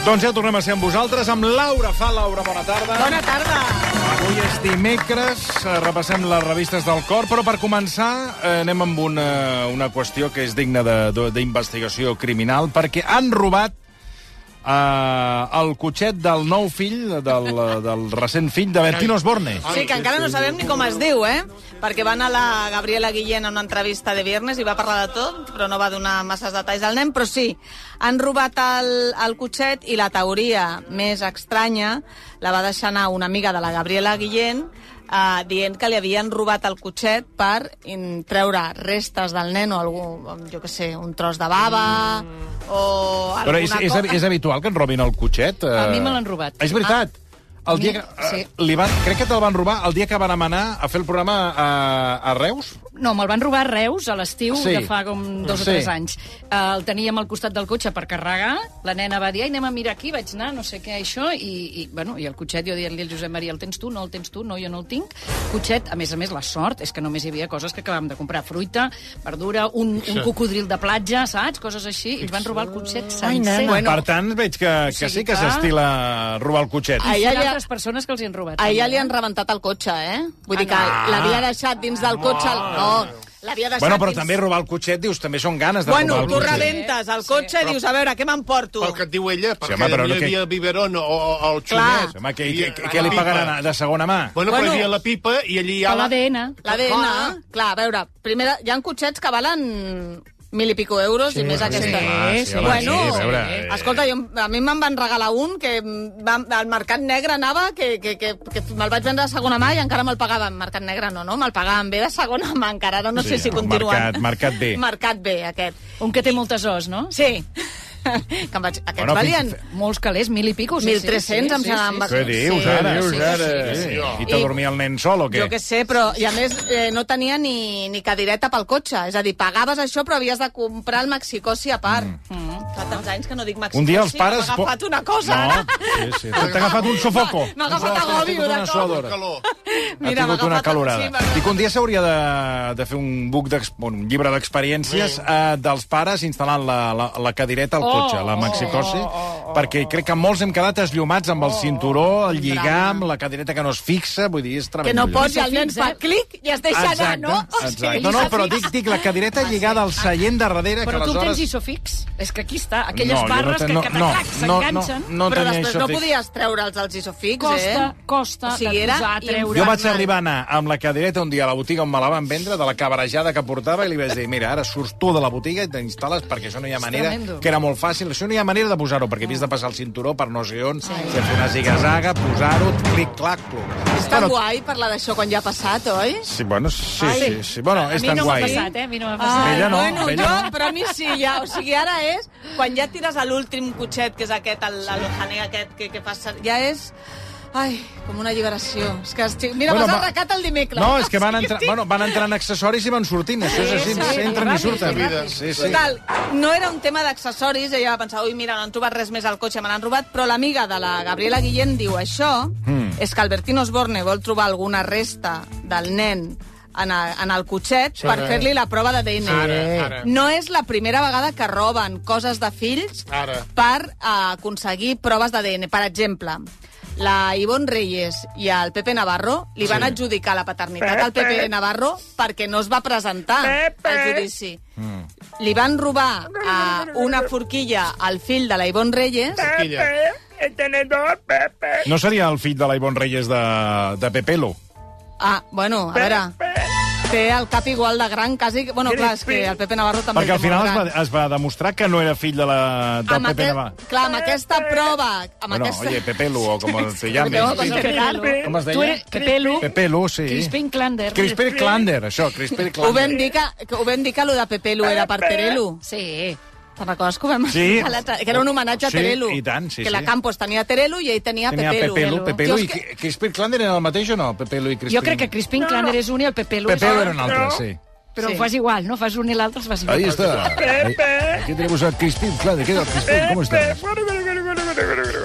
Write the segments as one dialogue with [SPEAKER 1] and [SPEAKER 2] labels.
[SPEAKER 1] Doncs ja tornem a ser amb vosaltres, amb Laura Fa. Laura, bona tarda.
[SPEAKER 2] Bona tarda.
[SPEAKER 1] Avui és dimecres, eh, repassem les revistes del cor, però per començar eh, anem amb una, una qüestió que és digna de- de- d'investigació criminal, perquè han robat eh, el cotxet del nou fill, del, eh, del recent fill de Bertino Osborne.
[SPEAKER 2] Ah, Sí, que encara no sabem ni com es diu, eh? Perquè va anar la Gabriela Guillén a una entrevista de viernes i va parlar de tot, però no va donar masses detalls al nen, però sí, han robat el, el cotxet i la teoria més estranya la va deixar anar una amiga de la Gabriela Guillén eh, dient que li havien robat el cotxet per in, treure restes del nen o algú, jo que sé, un tros de bava mm. o alguna
[SPEAKER 1] Però és, és,
[SPEAKER 2] cosa.
[SPEAKER 1] és habitual que en robin el cotxet? Eh...
[SPEAKER 3] A mi me l'han robat.
[SPEAKER 1] És veritat.
[SPEAKER 3] A
[SPEAKER 1] El
[SPEAKER 3] mi,
[SPEAKER 1] dia que, eh,
[SPEAKER 3] sí.
[SPEAKER 1] li van, crec que te'l van robar el dia que van anar a fer el programa a, a Reus.
[SPEAKER 3] No, me'l van robar a Reus a l'estiu
[SPEAKER 1] Sí.
[SPEAKER 3] sí. de fa com dos
[SPEAKER 1] Sí.
[SPEAKER 3] sí. o tres anys. Eh, El teníem al costat del cotxe per carregar, la nena va dir, ai, anem a mirar aquí, vaig anar, no sé què, això, i, i, bueno, i el cotxet jo dient-li al Josep Maria, el tens tu? No el tens tu? No, jo no el tinc. Cotxet, a més a més, la sort és que només hi havia coses que acabàvem de comprar, fruita, verdura, un, un cocodril de platja, saps? Coses així, i ens van robar el cotxet sencer.
[SPEAKER 1] Bueno, per tant, veig que, que
[SPEAKER 3] sigui
[SPEAKER 1] sí que
[SPEAKER 3] que-
[SPEAKER 1] s'estila robar el cotxet.
[SPEAKER 2] Ai,
[SPEAKER 3] hi
[SPEAKER 2] ja,
[SPEAKER 3] ha
[SPEAKER 2] ja.
[SPEAKER 3] altres persones que els hi han robat.
[SPEAKER 2] A ella
[SPEAKER 3] també,
[SPEAKER 2] li han rebentat el cotxe, eh? Vull dir que l'havia deixat dins del cotxe... No, l'havia deixat
[SPEAKER 1] Bueno, però
[SPEAKER 2] dins...
[SPEAKER 1] també robar el cotxet, dius, també són ganes de
[SPEAKER 2] Bueno,
[SPEAKER 1] robar el
[SPEAKER 2] tu
[SPEAKER 1] cotxet.
[SPEAKER 2] rebentes el cotxe i dius, a veure, què m'emporto?
[SPEAKER 4] Pel que et diu ella, perquè
[SPEAKER 1] home,
[SPEAKER 4] sí,
[SPEAKER 1] però
[SPEAKER 4] home,
[SPEAKER 1] no
[SPEAKER 4] hi
[SPEAKER 1] que-
[SPEAKER 4] havia biberon o, o o el
[SPEAKER 2] Clar.
[SPEAKER 4] xumet.
[SPEAKER 1] Sí, Home, què,
[SPEAKER 4] I-
[SPEAKER 1] què, què,
[SPEAKER 4] a
[SPEAKER 1] què
[SPEAKER 4] la
[SPEAKER 1] li
[SPEAKER 4] pipa.
[SPEAKER 1] pagaran de segona mà?
[SPEAKER 4] Bueno,
[SPEAKER 2] Bueno.
[SPEAKER 4] però hi havia la pipa i allí hi
[SPEAKER 3] Per
[SPEAKER 4] ha la...
[SPEAKER 3] l'ADN.
[SPEAKER 2] L'ADN, clar, a veure, primer, hi ha cotxets que valen mil i pico euros i més aquesta.
[SPEAKER 1] Ah, sí, sí,
[SPEAKER 2] bueno,
[SPEAKER 1] sí, a veure,
[SPEAKER 2] escolta, jo, a mi me'n van regalar un que mm, va, al Mercat Negre anava, que, que, que, que me'l vaig vendre de segona mà i encara me'l pagaven. Mercat Negre no, no? Me'l pagaven bé de segona mà encara, no, no
[SPEAKER 1] Sí,
[SPEAKER 2] sé si
[SPEAKER 1] el
[SPEAKER 2] continuen.
[SPEAKER 1] Mercat- Mercat B.
[SPEAKER 2] Mercat B, aquest.
[SPEAKER 3] Un que té moltes os, no?
[SPEAKER 2] Sí. que em vaig... Aquests
[SPEAKER 1] Bueno,
[SPEAKER 2] bueno, valien...
[SPEAKER 1] fins-
[SPEAKER 3] Molts calés, mil i pico. Sí,
[SPEAKER 2] 1.300 em sembla- em va-
[SPEAKER 1] Què dius,
[SPEAKER 2] Sí,
[SPEAKER 1] ara?
[SPEAKER 2] sí, sí,
[SPEAKER 1] Sí, I te dormia el nen sol o què?
[SPEAKER 2] Jo què sé, però... I a més, eh, no tenia ni, ni cadireta pel cotxe. És a dir, pagaves això, però havies de comprar el Maxicossi a part. Mm. Fa tants anys que no dic Maxicossi.
[SPEAKER 1] Un dia els pares...
[SPEAKER 2] M'ha agafat
[SPEAKER 1] po-
[SPEAKER 2] una cosa,
[SPEAKER 1] no,
[SPEAKER 2] ara.
[SPEAKER 1] Sí, sí. T'ha agafat un sofoco.
[SPEAKER 2] M'ha agafat
[SPEAKER 1] T'ha
[SPEAKER 2] agòbio,
[SPEAKER 1] una
[SPEAKER 2] de cop.
[SPEAKER 1] suadora.
[SPEAKER 4] Calor.
[SPEAKER 1] Mira,
[SPEAKER 2] Mira,
[SPEAKER 1] ha tingut
[SPEAKER 2] m'ha
[SPEAKER 1] una
[SPEAKER 2] agafat-
[SPEAKER 1] calorada.
[SPEAKER 2] sí, m'ha agafat.
[SPEAKER 1] Dic, un dia s'hauria de, de fer un buc d'ex- bueno, un llibre d'experiències eh, dels pares instal·lant la, la, la cadireta al
[SPEAKER 3] Oh,
[SPEAKER 1] cotxe, la
[SPEAKER 3] oh,
[SPEAKER 1] maxicosi,
[SPEAKER 3] oh, oh, oh.
[SPEAKER 1] perquè crec que molts hem quedat esllumats amb el
[SPEAKER 2] Oh,
[SPEAKER 1] cinturó, el lligar,
[SPEAKER 2] drama.
[SPEAKER 1] amb la cadireta que no es fixa, vull dir, és
[SPEAKER 2] Que
[SPEAKER 1] tremendo.
[SPEAKER 2] no pots i
[SPEAKER 1] allò.
[SPEAKER 2] el nen fa clic i es deixa
[SPEAKER 1] Exacte,
[SPEAKER 2] anar, no? O sigui,
[SPEAKER 1] exacte. No, no, però dic, dic la cadireta lligada al seient de darrere,
[SPEAKER 3] Però
[SPEAKER 1] que
[SPEAKER 3] tu el tens
[SPEAKER 1] aleshores...
[SPEAKER 3] isofix? És que aquí està, aquelles
[SPEAKER 1] No, jo no
[SPEAKER 3] barres
[SPEAKER 1] ten- no,
[SPEAKER 3] que, que
[SPEAKER 1] no,
[SPEAKER 3] no, s'enganxen.
[SPEAKER 1] no, no
[SPEAKER 2] però
[SPEAKER 1] tenia
[SPEAKER 2] després
[SPEAKER 1] això
[SPEAKER 2] no
[SPEAKER 1] fix.
[SPEAKER 2] podies treure'ls els isofix,
[SPEAKER 3] Costa,
[SPEAKER 2] eh?
[SPEAKER 3] costa
[SPEAKER 2] O sigui,
[SPEAKER 3] de
[SPEAKER 2] era
[SPEAKER 3] posar, treure...
[SPEAKER 1] Jo
[SPEAKER 2] Durant
[SPEAKER 1] vaig
[SPEAKER 2] l'any.
[SPEAKER 1] arribar a anar amb la cadireta un dia a la botiga on me la van vendre, de la cabarejada que portava, i li vaig dir, mira, ara surts tu de la botiga i t'instal·les, perquè això no hi ha manera,
[SPEAKER 3] tremendo.
[SPEAKER 1] que era molt fàcil, això no hi ha manera de posar-ho, perquè havies de passar el cinturó per no sé on, sí. fer una zigazaga, posar-ho, clic-clac, cluc.
[SPEAKER 2] És tan guai parlar d'això quan ja ha passat, oi?
[SPEAKER 1] Sí, bueno, sí,
[SPEAKER 2] Ai.
[SPEAKER 1] sí, sí. Bueno,
[SPEAKER 3] A
[SPEAKER 1] és
[SPEAKER 3] mi
[SPEAKER 1] tan
[SPEAKER 3] no m'ha
[SPEAKER 1] guai.
[SPEAKER 3] passat, eh? A mi no m'ha
[SPEAKER 1] Ai.
[SPEAKER 3] passat.
[SPEAKER 1] Vella Ah, no,
[SPEAKER 2] bueno,
[SPEAKER 1] vella
[SPEAKER 2] jo,
[SPEAKER 1] no.
[SPEAKER 2] però a mi sí, ja. O sigui, ara és... Quan ja tires a l'últim cotxet, que és aquest, el, el janer aquest que, que passa... Ja és... Ai, com una alliberació. És que estic... Mira,
[SPEAKER 1] Bueno,
[SPEAKER 2] bueno, m'has
[SPEAKER 1] va-
[SPEAKER 2] arrecat el dimecres.
[SPEAKER 1] No, és que van, entrar, bueno, van entrant accessoris i van sortint. Això és així,
[SPEAKER 3] sí,
[SPEAKER 1] entren i
[SPEAKER 3] ràpid,
[SPEAKER 1] surten.
[SPEAKER 4] ràpid.
[SPEAKER 1] Sí, sí.
[SPEAKER 2] Total, no era un tema d'accessoris, ella va pensar, ui, mira, no han trobat res més al cotxe, me l'han robat, però l'amiga de la Gabriela Guillén diu això,
[SPEAKER 1] Hmm.
[SPEAKER 2] mm. és que Albertino Osborne vol trobar alguna resta del nen en, a, en el cotxet sí. per fer-li la prova de DNA.
[SPEAKER 4] Ara, ara.
[SPEAKER 2] No és la primera vegada que roben coses de fills
[SPEAKER 4] Ara.
[SPEAKER 2] per eh, aconseguir proves d'ADN. Per exemple, la Ivonne Reyes i el Pepe Navarro li van adjudicar la paternitat al Pepe Navarro perquè no es va presentar al judici.
[SPEAKER 1] Mm.
[SPEAKER 2] Li van robar eh, una forquilla al fill de la Ivonne Reyes.
[SPEAKER 4] Quilla.
[SPEAKER 5] El tenedor, Pepe.
[SPEAKER 1] No seria el fill de la Ivonne Reyes de, de Pepelo?
[SPEAKER 2] Ah, bueno, a veure, té el cap igual de gran, quasi... que- Bueno, clar, és que el Pepe Navarro també
[SPEAKER 1] Perquè
[SPEAKER 2] el
[SPEAKER 1] al
[SPEAKER 2] té
[SPEAKER 1] final
[SPEAKER 2] molt
[SPEAKER 1] es va,
[SPEAKER 2] gran.
[SPEAKER 1] es va demostrar que no era fill de la, del Pepe
[SPEAKER 2] aquest-
[SPEAKER 1] Navarro.
[SPEAKER 2] Clar, amb aquesta prova... Amb
[SPEAKER 1] Bueno,
[SPEAKER 2] aquesta...
[SPEAKER 1] oye, Pepelu, o com es te llames.
[SPEAKER 2] Pepelu,
[SPEAKER 1] Sí.
[SPEAKER 2] com se llama.
[SPEAKER 1] Com es deia?
[SPEAKER 3] Tu eres Pepelu,
[SPEAKER 1] Pepelu, sí.
[SPEAKER 3] pues Crispin Klander.
[SPEAKER 1] Crisper Klander, això, Crisper
[SPEAKER 2] Ho vam
[SPEAKER 1] Klander.
[SPEAKER 2] dir que, que ho vam dir que lo de Pepelu era per Terelu.
[SPEAKER 3] Sí.
[SPEAKER 2] Te'n recordes que ho vam...
[SPEAKER 1] Sí.
[SPEAKER 2] Que era un homenatge a
[SPEAKER 1] Sí,
[SPEAKER 2] Terelu.
[SPEAKER 1] i tant, sí,
[SPEAKER 2] Que la
[SPEAKER 1] sí.
[SPEAKER 2] Campos tenia Terelu i ell tenia,
[SPEAKER 1] Tenia
[SPEAKER 2] Pepelu.
[SPEAKER 1] Pepelu, Pepelu
[SPEAKER 2] Jo
[SPEAKER 1] i
[SPEAKER 2] és que-
[SPEAKER 1] Crisper Klander eren el mateix o no? Pepelu i Crispin.
[SPEAKER 3] Jo crec que Crispin Klander és un i el Pepelu és
[SPEAKER 1] Pepelu era un
[SPEAKER 3] l'altre.
[SPEAKER 1] altre, sí.
[SPEAKER 3] Però
[SPEAKER 2] Sí.
[SPEAKER 3] ho fas igual, no? Fas un i l'altre els vas igual.
[SPEAKER 1] Ahí está. Ahí- Aquí tenemos a Crispin Klander. ¿Qué tal, Crispin? ¿Cómo estás?
[SPEAKER 5] Pepe.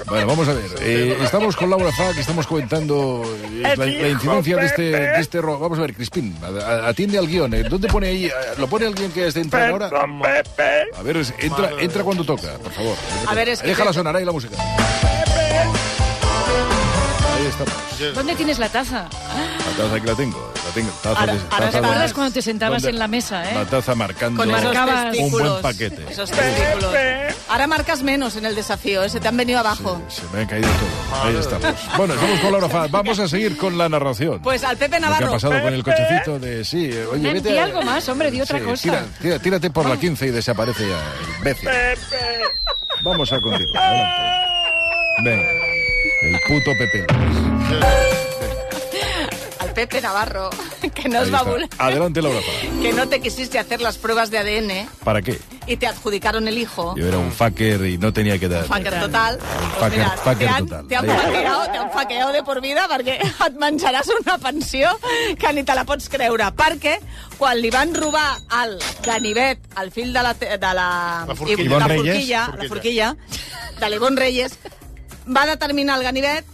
[SPEAKER 1] Bueno, vamos a ver. Eh, estamos con Laura Fa, que estamos comentando eh, la, la incidencia de este, de este ro- Vamos a ver, Crispín, a- a- atiende al guión. eh. ¿Dónde pone ahí? eh, ¿Lo pone alguien que esté entrando ahora? A ver, es- entra, entra cuando toca, por favor.
[SPEAKER 2] A ver, es que-
[SPEAKER 1] Déjala sonar ahí la música. Ahí estamos.
[SPEAKER 3] ¿Dónde tienes la taza?
[SPEAKER 1] La taza que la tengo. eh, La tengo. Taza
[SPEAKER 2] Ahora-
[SPEAKER 1] de-
[SPEAKER 2] ahora
[SPEAKER 1] taza
[SPEAKER 2] se
[SPEAKER 1] de-
[SPEAKER 2] acuerdas
[SPEAKER 3] cuando te sentabas
[SPEAKER 1] ¿Dónde?
[SPEAKER 3] en la mesa, eh?
[SPEAKER 1] La taza marcando
[SPEAKER 2] Con esos
[SPEAKER 3] Marcabas
[SPEAKER 1] un buen
[SPEAKER 2] testículos.
[SPEAKER 1] paquete.
[SPEAKER 2] Esos testículos. Ahora marcas menos en el desafío, ¿eh? se te han venido abajo.
[SPEAKER 1] Se me ha caído todo. Ahí estamos. Bueno, estamos con Laura Fa. Vamos a seguir con la narración.
[SPEAKER 2] Pues al Pepe
[SPEAKER 1] Lo que ha
[SPEAKER 2] Navarro.
[SPEAKER 1] pasado con el cochecito de... Sí, eh, oye,
[SPEAKER 3] Ven,
[SPEAKER 1] vete...
[SPEAKER 3] di
[SPEAKER 1] a-
[SPEAKER 3] algo más, hombre, di otra
[SPEAKER 1] Sí,
[SPEAKER 3] cosa.
[SPEAKER 1] tira- tira- tírate por la 15 y desaparece ya el imbécil. Vamos a continuar. adelante. Venga. El puto Pepe.
[SPEAKER 2] Al Pepe Navarro, que no,
[SPEAKER 1] Ahí
[SPEAKER 2] es va a
[SPEAKER 1] está.
[SPEAKER 2] voler-
[SPEAKER 1] Adelante, Laura Fa.
[SPEAKER 2] que no te quisiste hacer las pruebas de ADN
[SPEAKER 1] ¿Para qué?
[SPEAKER 2] eh, y te adjudicaron el hijo.
[SPEAKER 1] Yo era un fucker y no tenía que dar...
[SPEAKER 2] Fucker total.
[SPEAKER 1] Fucker- fucker
[SPEAKER 2] te han,
[SPEAKER 1] total.
[SPEAKER 2] Te han,
[SPEAKER 1] Ahí.
[SPEAKER 2] faqueado, te han faqueado de por vida perquè et menjaràs una pensió que ni te la pots creure. Perquè quan li van robar al ganivet, al fill de la... te- De la,
[SPEAKER 4] La forquilla.
[SPEAKER 2] i-
[SPEAKER 4] Ivonne
[SPEAKER 2] la
[SPEAKER 4] Reyes.
[SPEAKER 2] forquilla, la forquilla de l'Ivon Reyes, va determinar el ganivet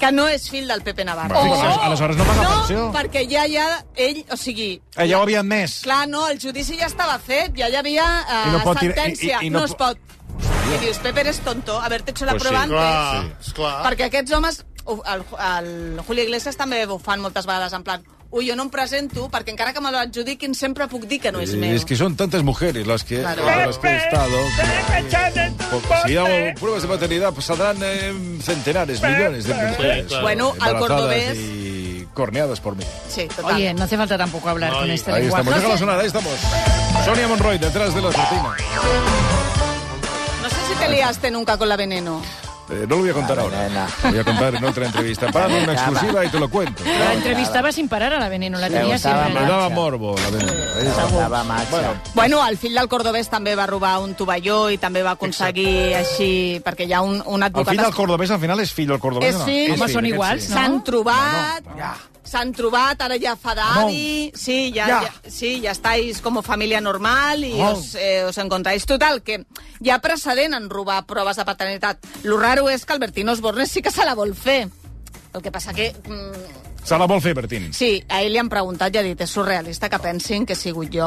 [SPEAKER 2] que no és fill del Pepe Navarro. Oh,
[SPEAKER 1] Bueno, aleshores- aleshores no paga pensió.
[SPEAKER 2] perquè ja, ja, ell, o sigui,
[SPEAKER 6] Eh, ja ho havien més.
[SPEAKER 2] Clar, no, el judici ja estava fet, ja hi havia eh,
[SPEAKER 6] I no pot tirar-
[SPEAKER 2] sentència.
[SPEAKER 6] i- i- i
[SPEAKER 2] no,
[SPEAKER 6] no
[SPEAKER 2] es
[SPEAKER 6] po-
[SPEAKER 2] pot. I dius, Pepe, eres tonto, haver-te hecho la
[SPEAKER 1] Pues sí,
[SPEAKER 2] prueba antes.
[SPEAKER 4] Clar, esclar.
[SPEAKER 2] Perquè aquests homes, ho- el, el Julio Iglesias també ho fan moltes vegades, en plan, ui, jo no em presento perquè encara que me lo adjudiquin sempre puc dir que no és
[SPEAKER 1] Eh,
[SPEAKER 2] meu.
[SPEAKER 1] es que son tantas mujeres las que,
[SPEAKER 2] Claro.
[SPEAKER 1] con las que he estado.
[SPEAKER 5] tu
[SPEAKER 1] Porque si hago pruebas de paternidad, pues saldrán eh, centenares, millones de mujeres.
[SPEAKER 4] claro.
[SPEAKER 2] Bueno, al
[SPEAKER 1] embarazadas
[SPEAKER 2] cordobés-
[SPEAKER 1] Y corneadas por mí.
[SPEAKER 2] Sí, total.
[SPEAKER 3] Oye, no hace falta tampoco hablar
[SPEAKER 4] Ay,
[SPEAKER 3] con este
[SPEAKER 1] Ahí
[SPEAKER 3] lenguaje.
[SPEAKER 1] estamos, déjalo sonar, ahí estamos. Sonia Monroy, detrás de la cortina.
[SPEAKER 2] No sé si te liaste nunca con la veneno.
[SPEAKER 1] Eh, no lo voy a contar ahora. Lo voy a contar en otra entrevista. Para una exclusiva y te lo cuento.
[SPEAKER 3] La entrevistaba sin parar a la veneno, la tenía
[SPEAKER 7] gustaba
[SPEAKER 3] siempre.
[SPEAKER 1] Me daba morbo la veneno. Ahí está.
[SPEAKER 7] Estava marxa.
[SPEAKER 2] Bueno, el fill del cordobès també va robar un tovalló i també va aconseguir així, perquè hi ha un, un
[SPEAKER 6] El
[SPEAKER 2] advocat...
[SPEAKER 6] fill del cordobès al final és fill del cordobès.
[SPEAKER 2] És
[SPEAKER 6] o no?
[SPEAKER 2] fill.
[SPEAKER 1] Eh, Sí,
[SPEAKER 3] Home, són
[SPEAKER 1] aquest
[SPEAKER 3] iguals, no?
[SPEAKER 2] S'han trobat, s'han trobat, ara ja fa d'avi... Sí, ja, ja.
[SPEAKER 6] Ja.
[SPEAKER 2] sí, ja estàis com a família normal i os, eh, os encontráis. Total, que hi ha precedent en robar proves de paternitat. Lo raro és que Albertino Osborne sí que se la vol fer. El que passa que... Mm,
[SPEAKER 1] Se la vol fer, Bertín.
[SPEAKER 2] Sí, a ell li han preguntat i ha dit és surrealista que pensin que he sigut jo.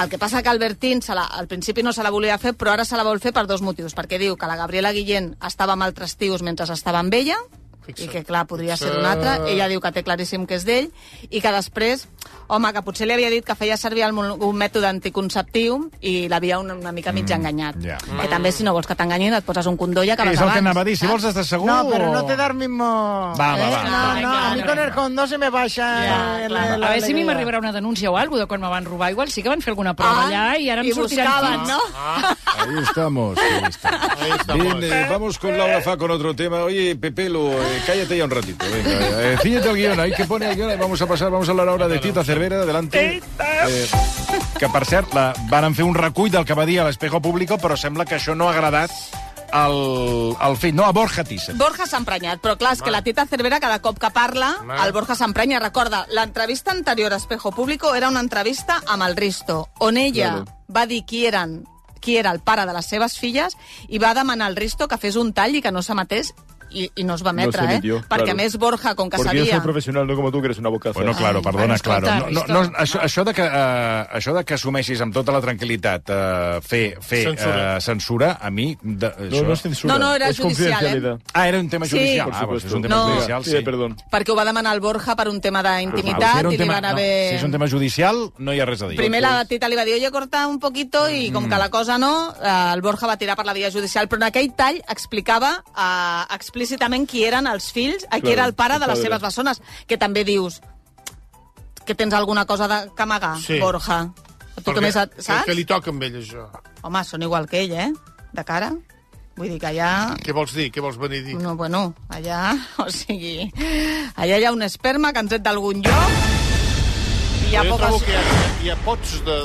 [SPEAKER 2] El que passa que Albertín se la, al principi no se la volia fer, però ara se la vol fer per dos motius. Perquè diu que la Gabriela Guillén estava amb altres tios mentre estava amb ella, i que, clar, podria ser un altre. Ella diu que té claríssim que és d'ell, i que després, home, que potser li havia dit que feia servir el, mon- un mètode anticonceptiu i l'havia una, una mica mig enganyat.
[SPEAKER 1] ja.
[SPEAKER 2] Que també, si no vols que t'enganyin, et poses un condó i acabes
[SPEAKER 6] Mm, És el que
[SPEAKER 2] abans,
[SPEAKER 6] anava a dir, si
[SPEAKER 2] saps?
[SPEAKER 6] vols estar segur...
[SPEAKER 8] Oh.
[SPEAKER 7] No, pero
[SPEAKER 6] o-
[SPEAKER 7] no te da el mismo...
[SPEAKER 6] Va, va,
[SPEAKER 7] Eh,
[SPEAKER 6] va.
[SPEAKER 7] No, no,
[SPEAKER 3] Claro,
[SPEAKER 7] a mí
[SPEAKER 3] no,
[SPEAKER 7] con el
[SPEAKER 3] no.
[SPEAKER 7] condo se me baixa...
[SPEAKER 2] Ya,
[SPEAKER 7] el-
[SPEAKER 2] claro.
[SPEAKER 7] el-
[SPEAKER 3] A veure si a mi
[SPEAKER 7] alegría.
[SPEAKER 3] m'arribarà una denúncia o alguna de quan me van robar. Igual sí que van fer alguna
[SPEAKER 2] Ah,
[SPEAKER 3] prova allà i ara em
[SPEAKER 2] i
[SPEAKER 3] sortiran
[SPEAKER 2] buscaven,
[SPEAKER 3] tips.
[SPEAKER 2] no?
[SPEAKER 1] Ahí estamos. Ahí estamos.
[SPEAKER 4] Ahí estamos.
[SPEAKER 1] Bien, eh, vamos con Laura Fa con otro tema. Oye, Pepelo, eh, cállate ya un ratito. Venga, eh, ciñete al guión, ahí que pone el guión. eh, Vamos a pasar, vamos a hablar ahora de Tita Cervera, adelante. Eh, que, per cert, la, varen fer un recull del que va dir a l'Espejo Público, però sembla que això no ha agradat al, al fill, no, a Borja Thyssen.
[SPEAKER 2] Borja s'ha emprenyat, però clar, és que la Tita Cervera cada cop que parla, el Borja s'emprenya. Recorda, l'entrevista anterior a Espejo Público era una entrevista amb el Risto, on ella va dir qui eren qui era el pare de les seves filles i va demanar al Risto que fes un tall i que no s'emetés i, i no es va emetre, eh?
[SPEAKER 8] s'emitió,
[SPEAKER 2] Perquè
[SPEAKER 8] claro.
[SPEAKER 2] a més Borja, com que
[SPEAKER 8] Porque yo
[SPEAKER 2] sabia...
[SPEAKER 8] soy profesional, no como tú, que eres una bocaza.
[SPEAKER 1] Bueno, claro,
[SPEAKER 3] Ai,
[SPEAKER 1] perdona,
[SPEAKER 3] bueno, escolta,
[SPEAKER 1] claro. No, no,
[SPEAKER 3] Risto.
[SPEAKER 1] no, això, això, de que, eh, això de que assumeixis amb tota la tranquil·litat eh, fer, fer
[SPEAKER 4] Censura.
[SPEAKER 1] eh, censura, a mi... De,
[SPEAKER 8] no,
[SPEAKER 1] això...
[SPEAKER 8] no es censura.
[SPEAKER 2] No, no, era
[SPEAKER 8] es
[SPEAKER 2] judicial, ¿eh?
[SPEAKER 8] confidencialidad.
[SPEAKER 1] Ah, era un tema
[SPEAKER 2] Sí.
[SPEAKER 1] judicial.
[SPEAKER 8] Por
[SPEAKER 1] Ah, pues és
[SPEAKER 8] supuesto.
[SPEAKER 1] un tema
[SPEAKER 2] No.
[SPEAKER 1] judicial, sí.
[SPEAKER 8] Sí, perdón.
[SPEAKER 2] perquè ho va demanar el Borja per un tema
[SPEAKER 1] Ah, si
[SPEAKER 2] d'intimitat
[SPEAKER 1] era un
[SPEAKER 2] i li
[SPEAKER 1] tema-
[SPEAKER 2] van
[SPEAKER 1] no,
[SPEAKER 2] haver...
[SPEAKER 1] Si és un tema judicial, no hi ha res a dir.
[SPEAKER 2] Primer la Tita li va dir, oye, corta un poquito, i com que la
[SPEAKER 4] Mm.
[SPEAKER 2] cosa no, eh, el Borja va tirar per la via judicial, però en aquell tall explicava eh, explícitament qui eren els fills, a qui
[SPEAKER 8] Claro,
[SPEAKER 2] era el pare
[SPEAKER 8] el
[SPEAKER 2] de les
[SPEAKER 8] padre.
[SPEAKER 2] seves bessones, que també dius que tens alguna cosa de, que amagar,
[SPEAKER 4] Sí.
[SPEAKER 2] Borja. Tu que més et, saps?
[SPEAKER 4] Que li toca amb ell, això.
[SPEAKER 2] Home, són igual que ell, eh? De cara. Vull dir que allà...
[SPEAKER 4] Què vols dir? Què vols venir a dir?
[SPEAKER 2] No, bueno, allà... O sigui, allà hi ha un esperma que han tret d'algun lloc i hi ha
[SPEAKER 4] jo
[SPEAKER 2] poca...
[SPEAKER 4] trobo que hi ha, hi ha pots de...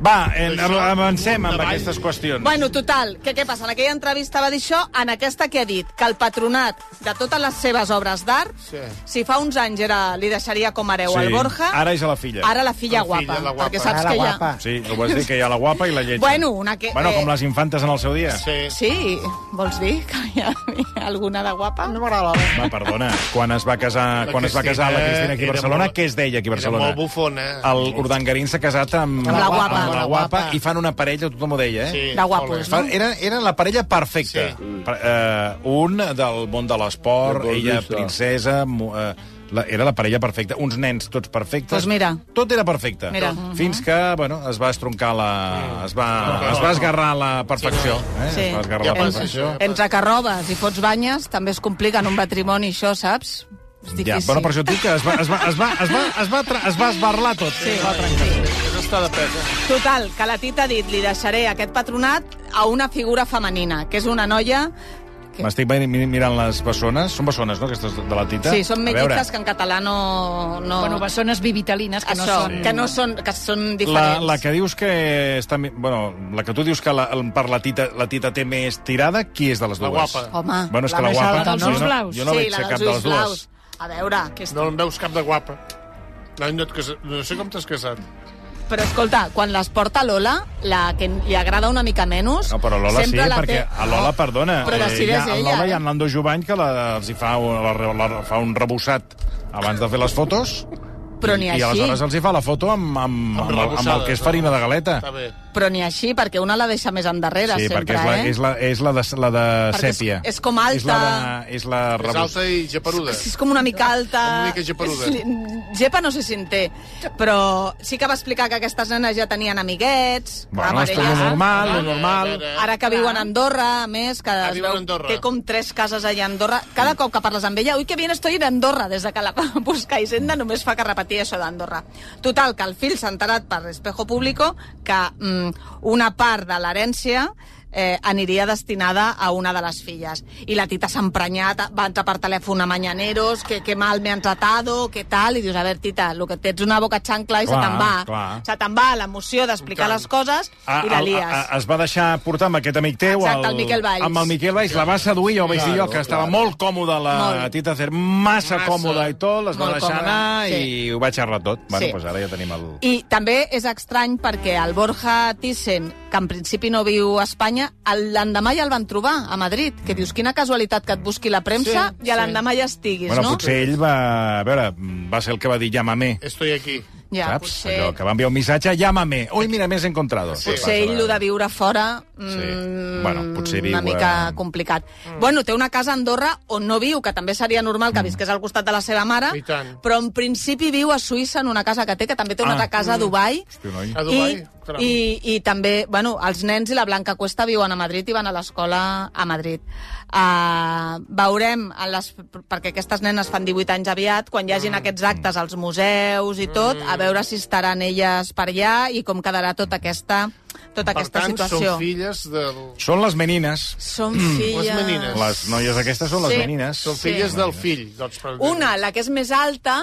[SPEAKER 1] Va, en,
[SPEAKER 4] Això,
[SPEAKER 1] avancem amb
[SPEAKER 4] endavant.
[SPEAKER 1] aquestes qüestions.
[SPEAKER 2] Bueno, total, que què passa? En aquella entrevista va dir això, en aquesta que ha dit? Que el patronat de totes les seves obres d'art,
[SPEAKER 4] Sí.
[SPEAKER 2] si fa uns anys era, li deixaria com hereu al Borja,
[SPEAKER 1] Ara és a la filla.
[SPEAKER 2] ara la filla
[SPEAKER 4] La filla,
[SPEAKER 2] guapa.
[SPEAKER 4] la guapa.
[SPEAKER 2] Perquè saps
[SPEAKER 7] Ara
[SPEAKER 2] que ja...
[SPEAKER 7] guapa.
[SPEAKER 1] Sí, ho vas dir, que hi ha la guapa i la lletja.
[SPEAKER 2] Bueno, una que-
[SPEAKER 1] Bueno, com
[SPEAKER 2] eh,
[SPEAKER 1] les infantes en el seu dia.
[SPEAKER 4] Sí.
[SPEAKER 2] Sí, vols dir que hi ha alguna de guapa?
[SPEAKER 7] No m'agrada. eh?
[SPEAKER 1] Va, perdona, quan es va casar,
[SPEAKER 4] La
[SPEAKER 1] Ah, quan es va
[SPEAKER 4] Cristina
[SPEAKER 1] casar la Cristina aquí a
[SPEAKER 4] era
[SPEAKER 1] Barcelona,
[SPEAKER 4] molt-
[SPEAKER 1] què es deia aquí a
[SPEAKER 4] era
[SPEAKER 1] Barcelona?
[SPEAKER 4] molt bufona.
[SPEAKER 1] El Urdangarín s'ha casat amb...
[SPEAKER 2] Amb la guapa.
[SPEAKER 1] Amb la
[SPEAKER 7] Amb la
[SPEAKER 1] guapa,
[SPEAKER 7] guapa.
[SPEAKER 1] i fan una parella, tothom ho deia, eh?
[SPEAKER 4] Sí,
[SPEAKER 2] De guapos,
[SPEAKER 4] molt
[SPEAKER 1] Fa-
[SPEAKER 4] bé.
[SPEAKER 2] no?
[SPEAKER 1] Era, era la parella perfecta.
[SPEAKER 4] Sí. Mm.
[SPEAKER 1] Per, eh, un del món de l'esport,
[SPEAKER 8] Del
[SPEAKER 1] ella
[SPEAKER 8] golfista.
[SPEAKER 1] princesa... mu- Eh, la, era la parella perfecta. Uns nens tots perfectes.
[SPEAKER 2] Doncs mira.
[SPEAKER 1] Tot era perfecte.
[SPEAKER 2] Mira.
[SPEAKER 1] Fins que, bueno, es va estroncar la... Es va, es va esgarrar la perfecció. Eh?
[SPEAKER 2] Sí.
[SPEAKER 1] Es va esgarrar
[SPEAKER 4] Ja
[SPEAKER 1] la
[SPEAKER 4] passa
[SPEAKER 1] perfecció.
[SPEAKER 4] això.
[SPEAKER 2] Entre que robes i fots banyes, també es complica en un matrimoni, això, saps? És difícil.
[SPEAKER 1] Ja, bueno, per això et dic que es va, es va, es va, es va, es va, tra- es va esbarlar tot. Sí. Es va trencar.
[SPEAKER 4] Això està de pes, eh?
[SPEAKER 2] Total, que la Tita ha dit, li deixaré aquest patronat a una figura femenina, que és una noia... Que...
[SPEAKER 1] M'estic mi- mi- mirant les bessones. Són bessones, no?, aquestes de la Tita?
[SPEAKER 2] Sí, són
[SPEAKER 1] A veure,
[SPEAKER 2] mellizas que en català no... no...
[SPEAKER 3] Bueno, bessones vivitalines que
[SPEAKER 2] això,
[SPEAKER 3] no són...
[SPEAKER 2] que no són, que són
[SPEAKER 1] La,
[SPEAKER 2] diferents.
[SPEAKER 1] la que dius que està... mi- Bueno, la que tu dius que la, el- per la tita, la tita té més tirada, qui és de les
[SPEAKER 4] La
[SPEAKER 1] dues?
[SPEAKER 4] guapa.
[SPEAKER 2] Home,
[SPEAKER 1] Bueno, és
[SPEAKER 7] la
[SPEAKER 1] que la
[SPEAKER 7] més
[SPEAKER 1] guapa...
[SPEAKER 7] alta, no?
[SPEAKER 1] jo
[SPEAKER 3] Els blaus.
[SPEAKER 1] Jo no
[SPEAKER 2] sí,
[SPEAKER 1] veig
[SPEAKER 2] la
[SPEAKER 1] cap
[SPEAKER 2] dels
[SPEAKER 1] de les
[SPEAKER 2] ulls
[SPEAKER 1] dues.
[SPEAKER 2] blaus. A veure, que...
[SPEAKER 4] No en veus cap de guapa. No, no, et casa... no sé com t'has casat.
[SPEAKER 2] però escolta, quan les porta Lola, la que li agrada una mica menys...
[SPEAKER 1] No, però a Lola sí,
[SPEAKER 2] sempre la
[SPEAKER 1] perquè
[SPEAKER 2] té...
[SPEAKER 1] a Lola,
[SPEAKER 2] No,
[SPEAKER 1] perdona,
[SPEAKER 2] Però
[SPEAKER 1] hi
[SPEAKER 2] decideix
[SPEAKER 1] ha, a
[SPEAKER 2] ella.
[SPEAKER 1] Lola
[SPEAKER 2] eh?
[SPEAKER 1] hi ha en Nando Jovany que la, els hi fa, un- la, la, la, fa un rebussat abans de fer les fotos
[SPEAKER 2] Però ni
[SPEAKER 1] i
[SPEAKER 2] així.
[SPEAKER 1] aleshores els hi fa la foto amb, amb, amb, amb, amb el que és farina de galeta.
[SPEAKER 4] Està bé.
[SPEAKER 2] Però ni així, perquè una la deixa més endarrere
[SPEAKER 1] Sí,
[SPEAKER 2] sempre,
[SPEAKER 1] perquè és la,
[SPEAKER 2] eh?
[SPEAKER 1] és la, és la de, la de
[SPEAKER 2] Perquè és-
[SPEAKER 1] sèpia.
[SPEAKER 2] és com alta.
[SPEAKER 1] És la, de, és la
[SPEAKER 4] És
[SPEAKER 1] rebus...
[SPEAKER 4] alta i geperuda.
[SPEAKER 2] Sí, és com una mica alta...
[SPEAKER 4] Una mica geperuda.
[SPEAKER 2] És li- Gepa no sé si en té, però sí que va explicar que aquestes nenes ja tenien amiguets...
[SPEAKER 1] Bueno, és tot lo
[SPEAKER 4] Ah,
[SPEAKER 1] normal, lo normal.
[SPEAKER 2] Ara que viuen a Andorra, a més,
[SPEAKER 1] Ah,
[SPEAKER 2] que es
[SPEAKER 4] viuen
[SPEAKER 2] veu-
[SPEAKER 4] a Andorra.
[SPEAKER 2] té com tres cases allà a Andorra. Cada cop que parles amb ella, ui, que bien estoy en Andorra, des de que la va buscar Hisenda, només fa que repetir això d'Andorra. Total, que el fill s'ha enterat per Espejo Público que mm, una part de l'herència eh, aniria destinada a una de les filles. I la tita s'ha emprenyat, va entrar per telèfon a Mañaneros, que, que mal me han tratado, que tal, i dius, a veure, tita, lo que tens una boca xancla i se
[SPEAKER 1] Clar,
[SPEAKER 2] te'n va.
[SPEAKER 1] clar.
[SPEAKER 2] Se te'n va l'emoció d'explicar
[SPEAKER 4] Tant.
[SPEAKER 2] les coses
[SPEAKER 1] A,
[SPEAKER 2] i la
[SPEAKER 1] Ah, el-
[SPEAKER 2] lies.
[SPEAKER 1] a, a, es va deixar portar amb aquest amic teu...
[SPEAKER 2] Exacte, el Miquel Valls.
[SPEAKER 1] Amb el Miquel Valls, la va seduir, ja ho vaig dir jo,
[SPEAKER 8] Claro,
[SPEAKER 1] que estava
[SPEAKER 8] claro.
[SPEAKER 1] molt còmoda la
[SPEAKER 2] Molt.
[SPEAKER 1] Tita Cer, massa,
[SPEAKER 4] Massa.
[SPEAKER 1] còmoda i tot, les va
[SPEAKER 2] Molt
[SPEAKER 1] deixar
[SPEAKER 2] còmoda,
[SPEAKER 1] anar
[SPEAKER 2] sí.
[SPEAKER 1] i ho va xerrar tot. Bueno,
[SPEAKER 2] Sí.
[SPEAKER 1] doncs ara ja tenim el...
[SPEAKER 2] I també és estrany perquè el Borja Thyssen, que en principi no viu a Espanya, el- l'endemà ja el van trobar a Madrid, que dius, quina casualitat que et busqui la premsa
[SPEAKER 4] Sí,
[SPEAKER 2] i a
[SPEAKER 4] sí.
[SPEAKER 2] l'endemà ja estiguis,
[SPEAKER 1] Bueno,
[SPEAKER 2] no?
[SPEAKER 1] potser ell va... A veure, va ser el que va dir llamame.
[SPEAKER 4] Estoy aquí.
[SPEAKER 2] ja,
[SPEAKER 1] Saps?
[SPEAKER 2] Potser,
[SPEAKER 1] Allò que va enviar un missatge, llamame. Ui, mira, m'he encontrado.
[SPEAKER 4] Sí.
[SPEAKER 1] Pues
[SPEAKER 2] potser
[SPEAKER 1] passa,
[SPEAKER 2] ell, lo
[SPEAKER 1] va.
[SPEAKER 2] de viure fora, mm,
[SPEAKER 1] Sí. Bueno, potser
[SPEAKER 2] una
[SPEAKER 1] viu,
[SPEAKER 2] mica
[SPEAKER 1] eh,
[SPEAKER 2] complicat.
[SPEAKER 4] Mm.
[SPEAKER 2] Bueno, té una casa a Andorra on no viu, que també seria normal
[SPEAKER 1] Mm.
[SPEAKER 2] que visqués al costat de la seva mare,
[SPEAKER 4] I tant.
[SPEAKER 2] però en principi viu a Suïssa en una casa que té, que també té una
[SPEAKER 1] Ah.
[SPEAKER 2] altra casa a Dubai,
[SPEAKER 1] Hosti, noi.
[SPEAKER 4] A Dubai?
[SPEAKER 2] I, i, I també, bueno, els nens i la Blanca Cuesta viuen a Madrid i van a l'escola a Madrid. Uh, veurem, en les, perquè aquestes nenes fan 18 anys aviat, quan hi hagin
[SPEAKER 4] Mm,
[SPEAKER 2] aquests actes als museus i tot, a veure si estaran elles per allà i com quedarà tota aquesta, tota
[SPEAKER 4] Per
[SPEAKER 2] aquesta
[SPEAKER 4] tant,
[SPEAKER 2] situació.
[SPEAKER 4] són filles del...
[SPEAKER 1] Són les menines.
[SPEAKER 2] Són
[SPEAKER 4] Les
[SPEAKER 2] filles...
[SPEAKER 4] menines.
[SPEAKER 1] Les noies aquestes són les
[SPEAKER 2] Sí.
[SPEAKER 1] menines.
[SPEAKER 4] Són filles del fill. Doncs, per-
[SPEAKER 2] Una, la que és més alta,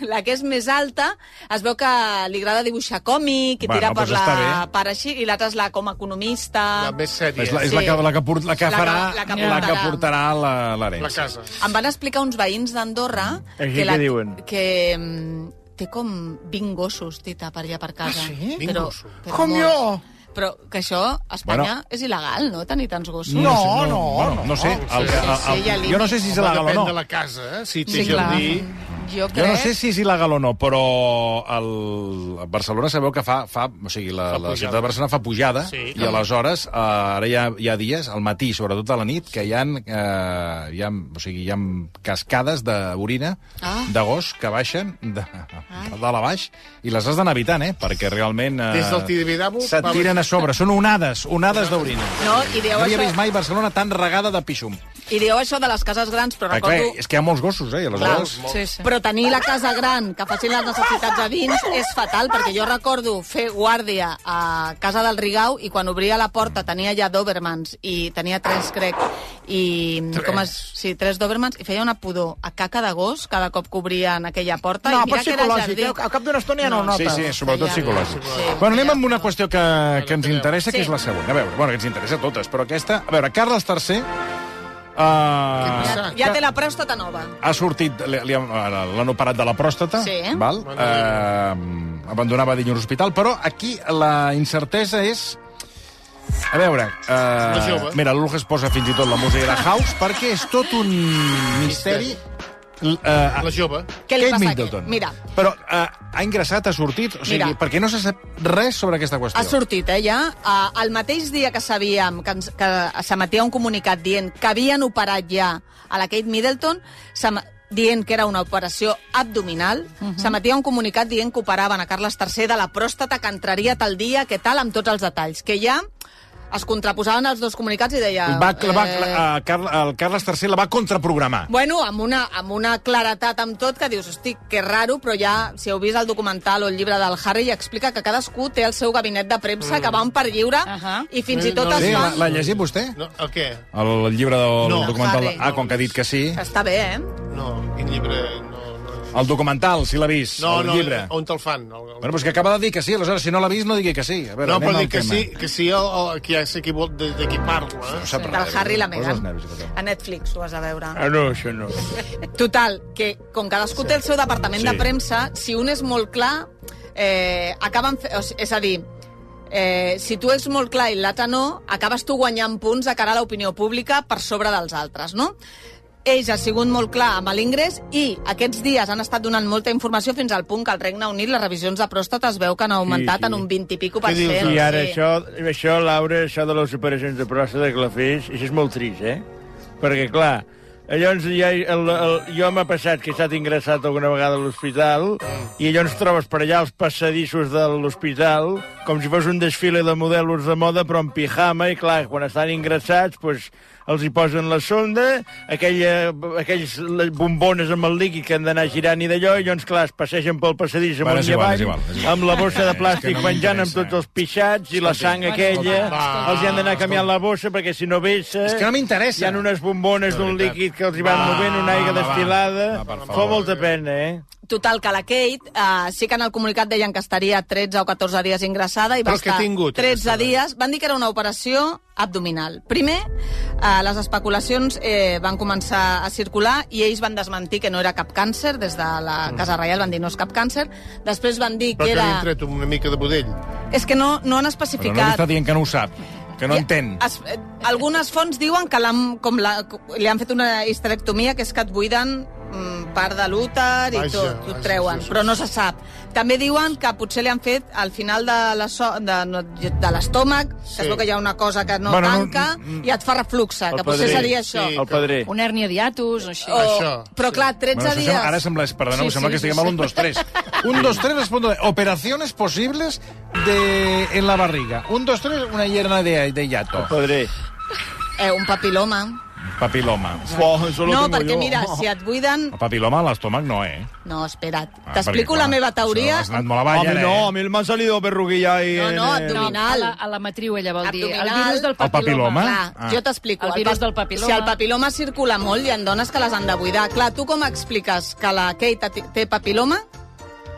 [SPEAKER 2] la que és més alta, es veu que li agrada dibuixar còmic i
[SPEAKER 1] Bueno,
[SPEAKER 2] tira
[SPEAKER 1] doncs
[SPEAKER 2] per,
[SPEAKER 1] està
[SPEAKER 2] la, per així, i l'altra és la com a economista...
[SPEAKER 4] La més sèria.
[SPEAKER 1] És la, és la,
[SPEAKER 2] Sí.
[SPEAKER 1] que, la, que, port, la, que
[SPEAKER 2] La que-
[SPEAKER 1] farà,
[SPEAKER 2] la que
[SPEAKER 1] la que
[SPEAKER 2] portarà.
[SPEAKER 1] portarà la-
[SPEAKER 4] La
[SPEAKER 1] l'herència.
[SPEAKER 4] casa.
[SPEAKER 2] Em van explicar uns veïns d'Andorra...
[SPEAKER 8] Aquí
[SPEAKER 2] que
[SPEAKER 8] què
[SPEAKER 2] la-
[SPEAKER 8] diuen?
[SPEAKER 2] Que mm, té com 20 gossos, tita, per allà per casa.
[SPEAKER 7] Ah, sí?
[SPEAKER 4] Vint
[SPEAKER 2] Però,
[SPEAKER 4] gossos.
[SPEAKER 2] però
[SPEAKER 7] Com
[SPEAKER 2] molts.
[SPEAKER 7] jo.
[SPEAKER 2] Però que això a Espanya
[SPEAKER 1] Bueno.
[SPEAKER 2] és il·legal, no?, tenir tants gossos.
[SPEAKER 7] No, no,
[SPEAKER 1] bueno, no sé. El, que-
[SPEAKER 2] Sí, sí,
[SPEAKER 1] el,
[SPEAKER 2] hi ha
[SPEAKER 1] el, jo no sé si és
[SPEAKER 4] Home,
[SPEAKER 1] il·legal o
[SPEAKER 4] depèn
[SPEAKER 1] no.
[SPEAKER 4] de la casa, eh? Si té
[SPEAKER 2] Sí, clar.
[SPEAKER 4] jardí...
[SPEAKER 2] Jo crec...
[SPEAKER 1] Jo no sé si és il·legal o no, però el a Barcelona sabeu que fa... fa o sigui, la,
[SPEAKER 4] Fa
[SPEAKER 1] la
[SPEAKER 4] pujada.
[SPEAKER 1] ciutat de Barcelona fa pujada
[SPEAKER 4] Sí,
[SPEAKER 1] i
[SPEAKER 4] clar.
[SPEAKER 1] aleshores, eh, ara hi ha, hi ha dies, al matí, sobretot a la nit, que hi ha, eh, hi ha, o sigui, hi ha cascades d'orina
[SPEAKER 2] Ah.
[SPEAKER 1] de gos que baixen de, de dalt a baix i les has d'anar evitant, eh? Perquè realment... Eh,
[SPEAKER 4] Des del Tibidabo,
[SPEAKER 1] Se't
[SPEAKER 4] va-
[SPEAKER 1] tiren a sobre. Són onades, onades d'orina.
[SPEAKER 2] No, i deu
[SPEAKER 1] No havia
[SPEAKER 2] això...
[SPEAKER 1] vist mai Barcelona tan regada de pixum.
[SPEAKER 2] I dieu això de les cases grans, però
[SPEAKER 1] Ah, clar,
[SPEAKER 2] recordo...
[SPEAKER 1] és que hi ha molts gossos, eh? I aleshores...
[SPEAKER 2] Clar, sí, sí. Però tenir la casa gran, que facin les necessitats a dins, és fatal, perquè jo recordo fer guàrdia a casa del Rigau i quan obria la porta tenia ja Dobermans, i tenia tres, crec, i...
[SPEAKER 4] Tres.
[SPEAKER 2] Com es, sí, tres Dobermans, i feia una pudor a caca de gos cada cop que obrien aquella porta.
[SPEAKER 7] No,
[SPEAKER 2] i
[SPEAKER 7] però
[SPEAKER 2] mira que era
[SPEAKER 7] psicològic.
[SPEAKER 2] jardí.
[SPEAKER 7] eh? Al cap d'una estona ja no ho
[SPEAKER 2] No.
[SPEAKER 1] Sí,
[SPEAKER 7] notes.
[SPEAKER 1] sí, sobretot
[SPEAKER 2] Ja, ja.
[SPEAKER 1] psicològic.
[SPEAKER 2] Sí.
[SPEAKER 1] Bueno, anem amb una qüestió que, que ens
[SPEAKER 4] Sí.
[SPEAKER 1] interessa, que
[SPEAKER 2] Sí.
[SPEAKER 1] és la següent. A veure, bueno, que ens interessa a totes, però aquesta... A veure, Carles eh, III...
[SPEAKER 4] passa?
[SPEAKER 1] Uh,
[SPEAKER 2] Ja té la pròstata nova.
[SPEAKER 1] ha sortit, li- li han- ara l'han operat de la pròstata,
[SPEAKER 2] Sí.
[SPEAKER 1] val?
[SPEAKER 4] Bueno,
[SPEAKER 1] Eh, abandonava dilluns l'hospital, però aquí la incertesa és... A veure,
[SPEAKER 4] És una
[SPEAKER 1] eh,
[SPEAKER 4] jove.
[SPEAKER 1] mira, l'Ulg es posa fins i tot la música de House perquè és tot un misteri. L- Eh,
[SPEAKER 4] La jove.
[SPEAKER 2] Què li
[SPEAKER 1] Kate
[SPEAKER 2] passa
[SPEAKER 1] Middleton.
[SPEAKER 2] aquí? Mira,
[SPEAKER 1] Però eh, ha ingressat, ha sortit, o sigui,
[SPEAKER 2] Mira.
[SPEAKER 1] perquè no se sap res sobre aquesta qüestió.
[SPEAKER 2] Ha sortit, eh, ja. Ah, El mateix dia que sabíem que, ens, que s'emetia un comunicat dient que havien operat ja a la Kate Middleton, s'em- dient que era una operació abdominal, s'emetia un comunicat dient que operaven a Carles III de la pròstata, que entraria tal dia, que tal, amb tots els detalls. Que ja es contraposaven els dos comunicats i deia...
[SPEAKER 1] Va, la va,
[SPEAKER 2] eh,
[SPEAKER 1] eh, Carl, el Carles III la va contraprogramar.
[SPEAKER 2] Bueno, amb una, amb una claretat amb tot que dius, hosti, que raro, però ja, si heu vist el documental o el llibre del Harry, ja explica que cadascú té el seu gabinet de premsa, que van per lliure,
[SPEAKER 3] Ahà.
[SPEAKER 2] i fins i tot
[SPEAKER 4] Eh, No,
[SPEAKER 2] es
[SPEAKER 1] Sí,
[SPEAKER 2] fan...
[SPEAKER 1] l'ha llegit vostè?
[SPEAKER 4] No, el què?
[SPEAKER 1] El llibre del
[SPEAKER 4] No.
[SPEAKER 1] documental...
[SPEAKER 2] Harry.
[SPEAKER 1] Ah, com que ha dit que sí.
[SPEAKER 2] Està bé, eh?
[SPEAKER 4] No, quin llibre... No, no.
[SPEAKER 1] El documental, si l'ha vist,
[SPEAKER 4] No,
[SPEAKER 1] Ah, el
[SPEAKER 4] no,
[SPEAKER 1] llibre.
[SPEAKER 4] on te'l fan? El, el...
[SPEAKER 1] Bueno, però és que acaba de dir que sí, aleshores, si no l'ha vist, no digui que sí. A veure,
[SPEAKER 4] no,
[SPEAKER 1] anem
[SPEAKER 4] però
[SPEAKER 1] al
[SPEAKER 4] dic que
[SPEAKER 1] tema.
[SPEAKER 4] sí, que sí, el, el, que ja sé qui vol, de, de qui parla. Eh?
[SPEAKER 1] No sap res.
[SPEAKER 2] Del Harry i la
[SPEAKER 1] Posa els
[SPEAKER 2] Meghan.
[SPEAKER 1] nervis, aquest home.
[SPEAKER 2] A Netflix ho has de veure.
[SPEAKER 4] Ah, no, això no.
[SPEAKER 2] Total, que com cadascú té el seu departament
[SPEAKER 1] Sí.
[SPEAKER 2] de premsa, si un és molt clar, eh, acaben... Fe... O sigui, és a dir, eh, si tu ets molt clar i l'altre no, acabes tu guanyant punts de cara a l'opinió pública per sobre dels altres, no? Ells ha sigut molt clar amb l'ingrés i aquests dies han estat donant molta informació fins al punt que al Regne Unit les revisions de pròstata es veu que han augmentat
[SPEAKER 8] sí.
[SPEAKER 2] en un 20 i pico per
[SPEAKER 4] Què dius,
[SPEAKER 2] cent.
[SPEAKER 8] Doncs I ara
[SPEAKER 2] sí.
[SPEAKER 8] això, això, Laura, això de les operacions de pròstata que la fes, això és molt trist, eh? Perquè, clar, llavors ja, el, el, jo m'ha passat que he estat ingressat alguna vegada a l'hospital
[SPEAKER 1] Mm.
[SPEAKER 8] i llavors trobes per allà els passadissos de l'hospital com si fos un desfile de modelos de moda però en pijama i, clar, quan estan ingressats, doncs, els hi posen la sonda, aquella, aquells les bombones amb el líquid que han d'anar girant i d'allò, i llavors, clar, es passegen pel passadís
[SPEAKER 1] Bueno,
[SPEAKER 8] amunt
[SPEAKER 1] és
[SPEAKER 8] i
[SPEAKER 1] igual,
[SPEAKER 8] avall,
[SPEAKER 1] és igual, és igual.
[SPEAKER 8] amb la bossa de
[SPEAKER 1] És
[SPEAKER 8] plàstic
[SPEAKER 1] que no
[SPEAKER 8] penjant amb
[SPEAKER 1] m'interessa.
[SPEAKER 8] tots els pixats i la sang aquella.
[SPEAKER 4] escolta.
[SPEAKER 8] Els hi han d'anar canviant la bossa perquè si no vessa...
[SPEAKER 1] És que no m'interessa.
[SPEAKER 8] Hi ha unes bombones d'un
[SPEAKER 4] veritat.
[SPEAKER 8] líquid que els hi van
[SPEAKER 1] Va,
[SPEAKER 8] movent, una
[SPEAKER 1] va,
[SPEAKER 8] aigua
[SPEAKER 1] va.
[SPEAKER 8] destilada...
[SPEAKER 1] Va, per
[SPEAKER 8] Fa
[SPEAKER 1] favor.
[SPEAKER 8] molta pena, eh?
[SPEAKER 2] Total, que la Kate eh, sí que en el comunicat deien que estaria 13 o 14 dies ingressada i va
[SPEAKER 4] Però què ha
[SPEAKER 2] estar
[SPEAKER 4] tingut,
[SPEAKER 2] 13
[SPEAKER 4] aquesta
[SPEAKER 2] dies. Van dir que era una operació abdominal. Primer, eh, les especulacions eh, van començar a circular i ells van desmentir que no era cap càncer. Des de la Casa Reial van dir no és cap càncer. Després van dir
[SPEAKER 4] Però
[SPEAKER 2] que
[SPEAKER 4] que li
[SPEAKER 2] era...
[SPEAKER 4] han tret una mica de budell.
[SPEAKER 2] És que no, no han
[SPEAKER 1] Però no li
[SPEAKER 2] especificat.
[SPEAKER 1] està dient que no ho sap, que no
[SPEAKER 2] Ja,
[SPEAKER 1] entén.
[SPEAKER 2] Es, eh, algunes fonts diuen que l'han- com la, li han fet una histerectomia, que és que et buiden mm, part de l'úter i
[SPEAKER 4] Vaja,
[SPEAKER 2] tot, t'ho
[SPEAKER 4] vaja,
[SPEAKER 2] treuen,
[SPEAKER 4] sí, sí,
[SPEAKER 2] però no
[SPEAKER 4] sí.
[SPEAKER 2] se sap. També diuen que potser li han fet al final de la so, de, no, de l'estómac,
[SPEAKER 4] Sí.
[SPEAKER 2] que és el que hi ha una cosa que no
[SPEAKER 1] Bueno,
[SPEAKER 2] bueno,
[SPEAKER 1] no, mm,
[SPEAKER 2] tanca, no, i et fa refluxe, que potser
[SPEAKER 8] padrí,
[SPEAKER 2] seria això.
[SPEAKER 4] Sí,
[SPEAKER 8] El padrí.
[SPEAKER 3] Una hernia diatus o així.
[SPEAKER 2] O,
[SPEAKER 4] Això,
[SPEAKER 2] però
[SPEAKER 4] sí.
[SPEAKER 2] clar, 13
[SPEAKER 1] Bueno, això
[SPEAKER 2] dies...
[SPEAKER 1] sembla- Ara sembla, perdona,
[SPEAKER 3] Sí,
[SPEAKER 1] sí, sembla
[SPEAKER 3] sí,
[SPEAKER 1] que
[SPEAKER 3] sí,
[SPEAKER 1] estiguem
[SPEAKER 3] sí.
[SPEAKER 1] al 1, 2, 3. 1, 2, 3, respondo. de- Operaciones posibles de... en la barriga. 1, 2, 3, una hierna de, de hiato.
[SPEAKER 8] Padré.
[SPEAKER 2] Eh, un papiloma.
[SPEAKER 1] Papiloma.
[SPEAKER 8] Oh, solo
[SPEAKER 2] No,
[SPEAKER 8] tengo
[SPEAKER 2] perquè
[SPEAKER 8] yo.
[SPEAKER 2] mira, si et buiden...
[SPEAKER 1] El papiloma a l'estómac no, eh?
[SPEAKER 2] No, espera't.
[SPEAKER 1] Ah,
[SPEAKER 2] T'explico
[SPEAKER 1] perquè,
[SPEAKER 2] la
[SPEAKER 1] clar,
[SPEAKER 2] meva
[SPEAKER 1] això
[SPEAKER 2] teoria.
[SPEAKER 1] Has anat molt eh, avall,
[SPEAKER 8] Home,
[SPEAKER 1] ara,
[SPEAKER 8] no, a
[SPEAKER 1] eh?
[SPEAKER 8] mi m'han salido perruguilla i...
[SPEAKER 2] No, no,
[SPEAKER 3] No, a
[SPEAKER 2] abdominal.
[SPEAKER 3] la, a la matriu ella vol dir. El
[SPEAKER 2] Abdominal.
[SPEAKER 3] virus del
[SPEAKER 1] El papiloma.
[SPEAKER 3] papiloma.
[SPEAKER 2] Clar,
[SPEAKER 1] Ah.
[SPEAKER 2] ah. jo t'explico.
[SPEAKER 3] El
[SPEAKER 2] pa-
[SPEAKER 3] virus del papiloma.
[SPEAKER 2] Si el papiloma circula molt, hi ha dones que les han de buidar. Clar, tu com expliques que la Kate t- té papiloma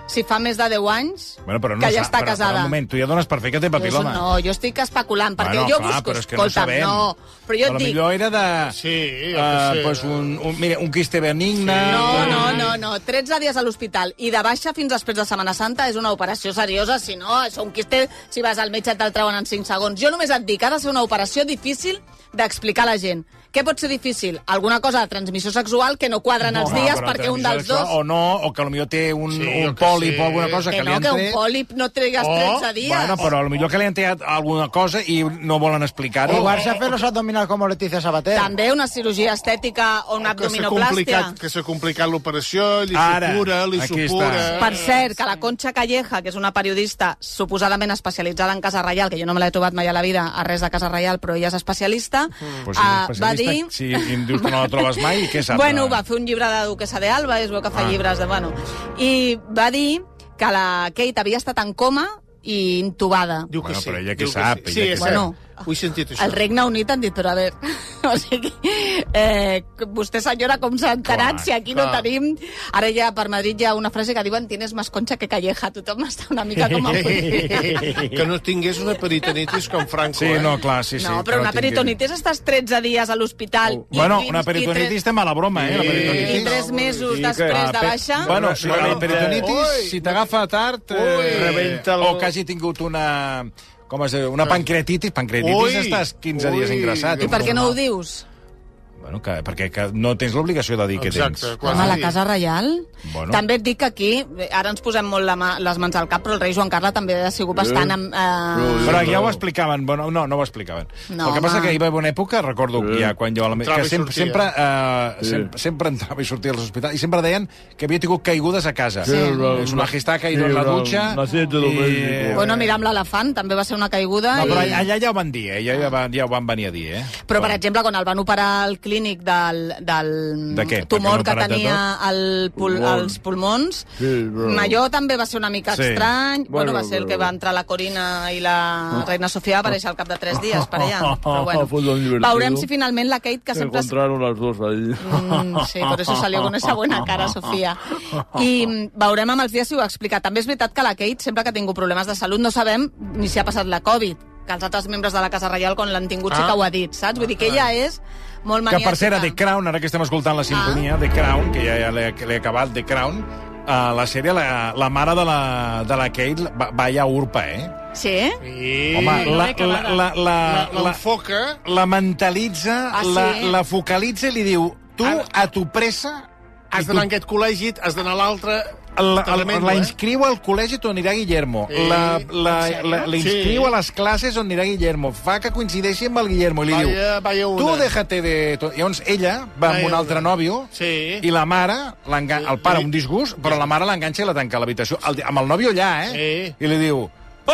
[SPEAKER 2] si fa més de 10 anys
[SPEAKER 1] Bueno, però no
[SPEAKER 2] que ja
[SPEAKER 1] sap-
[SPEAKER 2] està
[SPEAKER 1] però,
[SPEAKER 2] casada?
[SPEAKER 1] Però, un moment, tu ja dones per fer que té papiloma.
[SPEAKER 2] Jo, no, jo estic especulant, perquè
[SPEAKER 1] Bueno,
[SPEAKER 2] jo
[SPEAKER 1] clar,
[SPEAKER 2] busco...
[SPEAKER 1] però és que no
[SPEAKER 2] escolta'm,
[SPEAKER 1] sabem.
[SPEAKER 2] no, però jo
[SPEAKER 1] a
[SPEAKER 2] et
[SPEAKER 1] lo
[SPEAKER 2] dic...
[SPEAKER 1] millor era de...
[SPEAKER 4] Sí,
[SPEAKER 1] eh,
[SPEAKER 4] jo què sé.
[SPEAKER 1] pues un, un, mira, un quiste benigne...
[SPEAKER 2] No, no, eh? no, no, 13 dies a l'hospital i de baixa fins després de Setmana Santa és una operació seriosa, si no, és un quiste, si vas al metge te'l treuen en 5 segons. Jo només et dic, ha de ser una operació difícil d'explicar a la gent. Què pot ser difícil? Alguna cosa de transmissió sexual que no quadren els
[SPEAKER 1] Home,
[SPEAKER 2] dies
[SPEAKER 1] però
[SPEAKER 2] perquè un
[SPEAKER 1] transmissió
[SPEAKER 2] dels
[SPEAKER 1] sexual,
[SPEAKER 2] dos...
[SPEAKER 1] O no, o que potser té un,
[SPEAKER 4] Sí, jo
[SPEAKER 1] un
[SPEAKER 4] què
[SPEAKER 1] pòlip
[SPEAKER 4] sé.
[SPEAKER 1] o alguna cosa que,
[SPEAKER 2] Que
[SPEAKER 1] li
[SPEAKER 2] no,
[SPEAKER 1] han
[SPEAKER 2] que un
[SPEAKER 1] tret.
[SPEAKER 2] pòlip no trigues
[SPEAKER 4] O-
[SPEAKER 2] 13 dies.
[SPEAKER 1] Oh, Bueno, però potser que li han tret alguna cosa i no volen explicar-ho.
[SPEAKER 7] Igual s'ha fet los abdominals com Leticia Sabater.
[SPEAKER 2] També una cirurgia estètica o
[SPEAKER 1] Oh,
[SPEAKER 2] una
[SPEAKER 4] Que s'ha
[SPEAKER 2] abdominoplàstia.
[SPEAKER 4] complicat, que s'ha complicat l'operació, li
[SPEAKER 1] Ara,
[SPEAKER 4] supura, li
[SPEAKER 1] aquí
[SPEAKER 4] supura...
[SPEAKER 1] està.
[SPEAKER 2] Per cert, que la Concha Calleja, que és una periodista suposadament especialitzada en Casa Reial, que jo no me l'he trobat mai a la vida a res de Casa Reial, però ella és especialista,
[SPEAKER 1] Pues
[SPEAKER 2] eh,
[SPEAKER 1] sí, és especialista.
[SPEAKER 2] va dir...
[SPEAKER 1] Si, si em dius que no la trobes mai, què saps?
[SPEAKER 2] Bueno, va fer un llibre de Duquesa de Alba, és veu que fa
[SPEAKER 1] Ah.
[SPEAKER 2] llibres de... Bueno, I va dir que la Kate havia estat en coma i intubada.
[SPEAKER 4] Diu que
[SPEAKER 1] Bueno,
[SPEAKER 4] sí.
[SPEAKER 1] però ella
[SPEAKER 4] diu
[SPEAKER 1] què
[SPEAKER 4] que
[SPEAKER 1] sap,
[SPEAKER 4] Sí,
[SPEAKER 1] ella
[SPEAKER 4] sí
[SPEAKER 1] què
[SPEAKER 4] és
[SPEAKER 2] sap. Bueno,
[SPEAKER 4] cert. Ho he sentit, això.
[SPEAKER 2] Al Regne Unit han dit, però a veure, o sigui, eh, vostè senyora com s'ha enterat
[SPEAKER 1] Clar,
[SPEAKER 2] si aquí no
[SPEAKER 4] clar.
[SPEAKER 2] tenim... Ara ja per Madrid hi ha una frase que diuen tienes más concha que calleja, tothom està una mica com enfurit.
[SPEAKER 4] Que no tingués una peritonitis com Franco,
[SPEAKER 1] Sí,
[SPEAKER 4] eh?
[SPEAKER 1] no, clar, sí, sí.
[SPEAKER 2] no, però
[SPEAKER 1] que
[SPEAKER 2] una
[SPEAKER 1] tingui-
[SPEAKER 2] peritonitis estàs 13 dies a l'hospital. i
[SPEAKER 1] Bueno,
[SPEAKER 2] vint-
[SPEAKER 1] una
[SPEAKER 2] i
[SPEAKER 1] peritonitis
[SPEAKER 2] tres-
[SPEAKER 1] té mala broma, eh? La
[SPEAKER 4] Sí.
[SPEAKER 1] peritonitis.
[SPEAKER 2] I tres mesos
[SPEAKER 8] Sí, que-
[SPEAKER 2] després
[SPEAKER 1] Ah,
[SPEAKER 2] de
[SPEAKER 1] pe-
[SPEAKER 2] baixa...
[SPEAKER 1] Bueno, si la
[SPEAKER 8] Rebenta.
[SPEAKER 1] peritonitis,
[SPEAKER 4] Ui.
[SPEAKER 1] si t'agafa tard, eh,
[SPEAKER 8] Ui. Rebenta el-
[SPEAKER 1] o que hagi tingut una... Com es diu? Una pancreatitis. Pancreatitis
[SPEAKER 4] Ah. Ui.
[SPEAKER 1] estàs 15 dies
[SPEAKER 4] Ui.
[SPEAKER 1] ingressat.
[SPEAKER 2] I per què no ho dius?
[SPEAKER 1] Bueno, que, perquè que no tens l'obligació de dir què tens.
[SPEAKER 4] Exacte,
[SPEAKER 2] Home, la
[SPEAKER 4] sí.
[SPEAKER 2] Casa Reial...
[SPEAKER 1] Bueno.
[SPEAKER 2] També et dic que aquí, eh, ara ens posem molt la mà, les mans al cap, però el rei Joan Carles també ha sigut bastant... Amb, eh...
[SPEAKER 1] Però ja ho explicaven, bueno, no, no ho explicaven.
[SPEAKER 2] No,
[SPEAKER 1] el que passa
[SPEAKER 2] home.
[SPEAKER 1] que hi va haver una època, recordo
[SPEAKER 8] Sí.
[SPEAKER 1] ja quan jo... a la me-
[SPEAKER 4] Entrava
[SPEAKER 1] Que
[SPEAKER 4] i
[SPEAKER 1] sempre,
[SPEAKER 4] sortia.
[SPEAKER 1] sempre, eh, sempre, sempre entrava i sortia als hospitals i sempre deien que havia tingut caigudes a casa.
[SPEAKER 8] Sí, el-
[SPEAKER 1] És una gistaca i
[SPEAKER 8] sí,
[SPEAKER 1] sí, la
[SPEAKER 8] el-
[SPEAKER 1] dutxa...
[SPEAKER 8] l'accidente doméstico.
[SPEAKER 2] Bueno, mira, amb l'elefant també va ser una caiguda.
[SPEAKER 1] No, Ah, però
[SPEAKER 2] i...
[SPEAKER 1] allà ja ho van dir, eh? Ja, ja, van, ja ho van venir a dir, eh?
[SPEAKER 2] Però, per exemple, quan el van operar al clínic del, del
[SPEAKER 1] De què?
[SPEAKER 2] tumor
[SPEAKER 1] Perquè
[SPEAKER 2] que
[SPEAKER 1] han operat de
[SPEAKER 2] tenia el pul
[SPEAKER 8] Pulmons.
[SPEAKER 2] als pulmons,
[SPEAKER 8] Sí, però-
[SPEAKER 2] allò també va ser una mica
[SPEAKER 1] Sí.
[SPEAKER 2] estrany. Bueno,
[SPEAKER 8] Bueno,
[SPEAKER 2] va ser el
[SPEAKER 8] però-
[SPEAKER 2] que va entrar la Corina i la reina Sofia va deixar al cap de tres dies per allà. Però,
[SPEAKER 8] Fue tan
[SPEAKER 2] bueno,
[SPEAKER 8] divertido.
[SPEAKER 2] veurem si finalment la Kate, que sempre... es-
[SPEAKER 8] Encontraron las dos ahí.
[SPEAKER 2] Mm, sí, por eso salió con esa buena cara, Sofia. I mm, veurem amb els dies si ho explica. També és veritat que la Kate sempre que ha tingut problemes de salut no sabem ni si ha passat la Covid que els altres membres de la Casa Reial, quan l'han tingut, sí
[SPEAKER 4] Ah.
[SPEAKER 2] que ho ha dit, saps? Vull dir que ella és molt
[SPEAKER 1] Ah. Que,
[SPEAKER 2] maniàtica.
[SPEAKER 1] per cert, a The Crown, ara que estem escoltant la sintonia, de Crown, que ja, ja l'he l'he acabat, The Crown, a la sèrie, la, la mare de la, de la Kate, va, vaya urpa, eh?
[SPEAKER 2] Sí, eh?
[SPEAKER 4] Sí.
[SPEAKER 1] Home, la,
[SPEAKER 3] l'he
[SPEAKER 1] la,
[SPEAKER 3] acabada.
[SPEAKER 1] la, la, la,
[SPEAKER 4] L'enfoca...
[SPEAKER 1] la mentalitza,
[SPEAKER 2] Ah, sí?
[SPEAKER 1] la, la focalitza i li diu tu,
[SPEAKER 4] Ara-
[SPEAKER 1] a tu pressa,
[SPEAKER 4] Ah, Has d'anar a aquest col·legi, has d'anar a l'altre...
[SPEAKER 1] la,
[SPEAKER 4] Tremendo,
[SPEAKER 1] la
[SPEAKER 4] eh?
[SPEAKER 1] inscriu al col·legi on anirà Guillermo.
[SPEAKER 4] Sí.
[SPEAKER 1] La, la,
[SPEAKER 4] Exacte.
[SPEAKER 1] la, la inscriu
[SPEAKER 4] Sí.
[SPEAKER 1] a les classes on anirà Guillermo. Fa que coincideixi amb el Guillermo i li diu...
[SPEAKER 4] Vaya, vaya una.
[SPEAKER 1] Tu déjate de... to-". Llavors, ella va amb
[SPEAKER 4] Ai,
[SPEAKER 1] un altre
[SPEAKER 4] una.
[SPEAKER 1] nòvio
[SPEAKER 4] Sí.
[SPEAKER 1] i la mare, l'engan- el pare,
[SPEAKER 4] Sí.
[SPEAKER 1] un disgust, però la mare l'enganxa i la tanca a l'habitació. El- Amb el nòvio allà, eh?
[SPEAKER 4] Sí.
[SPEAKER 1] I li diu...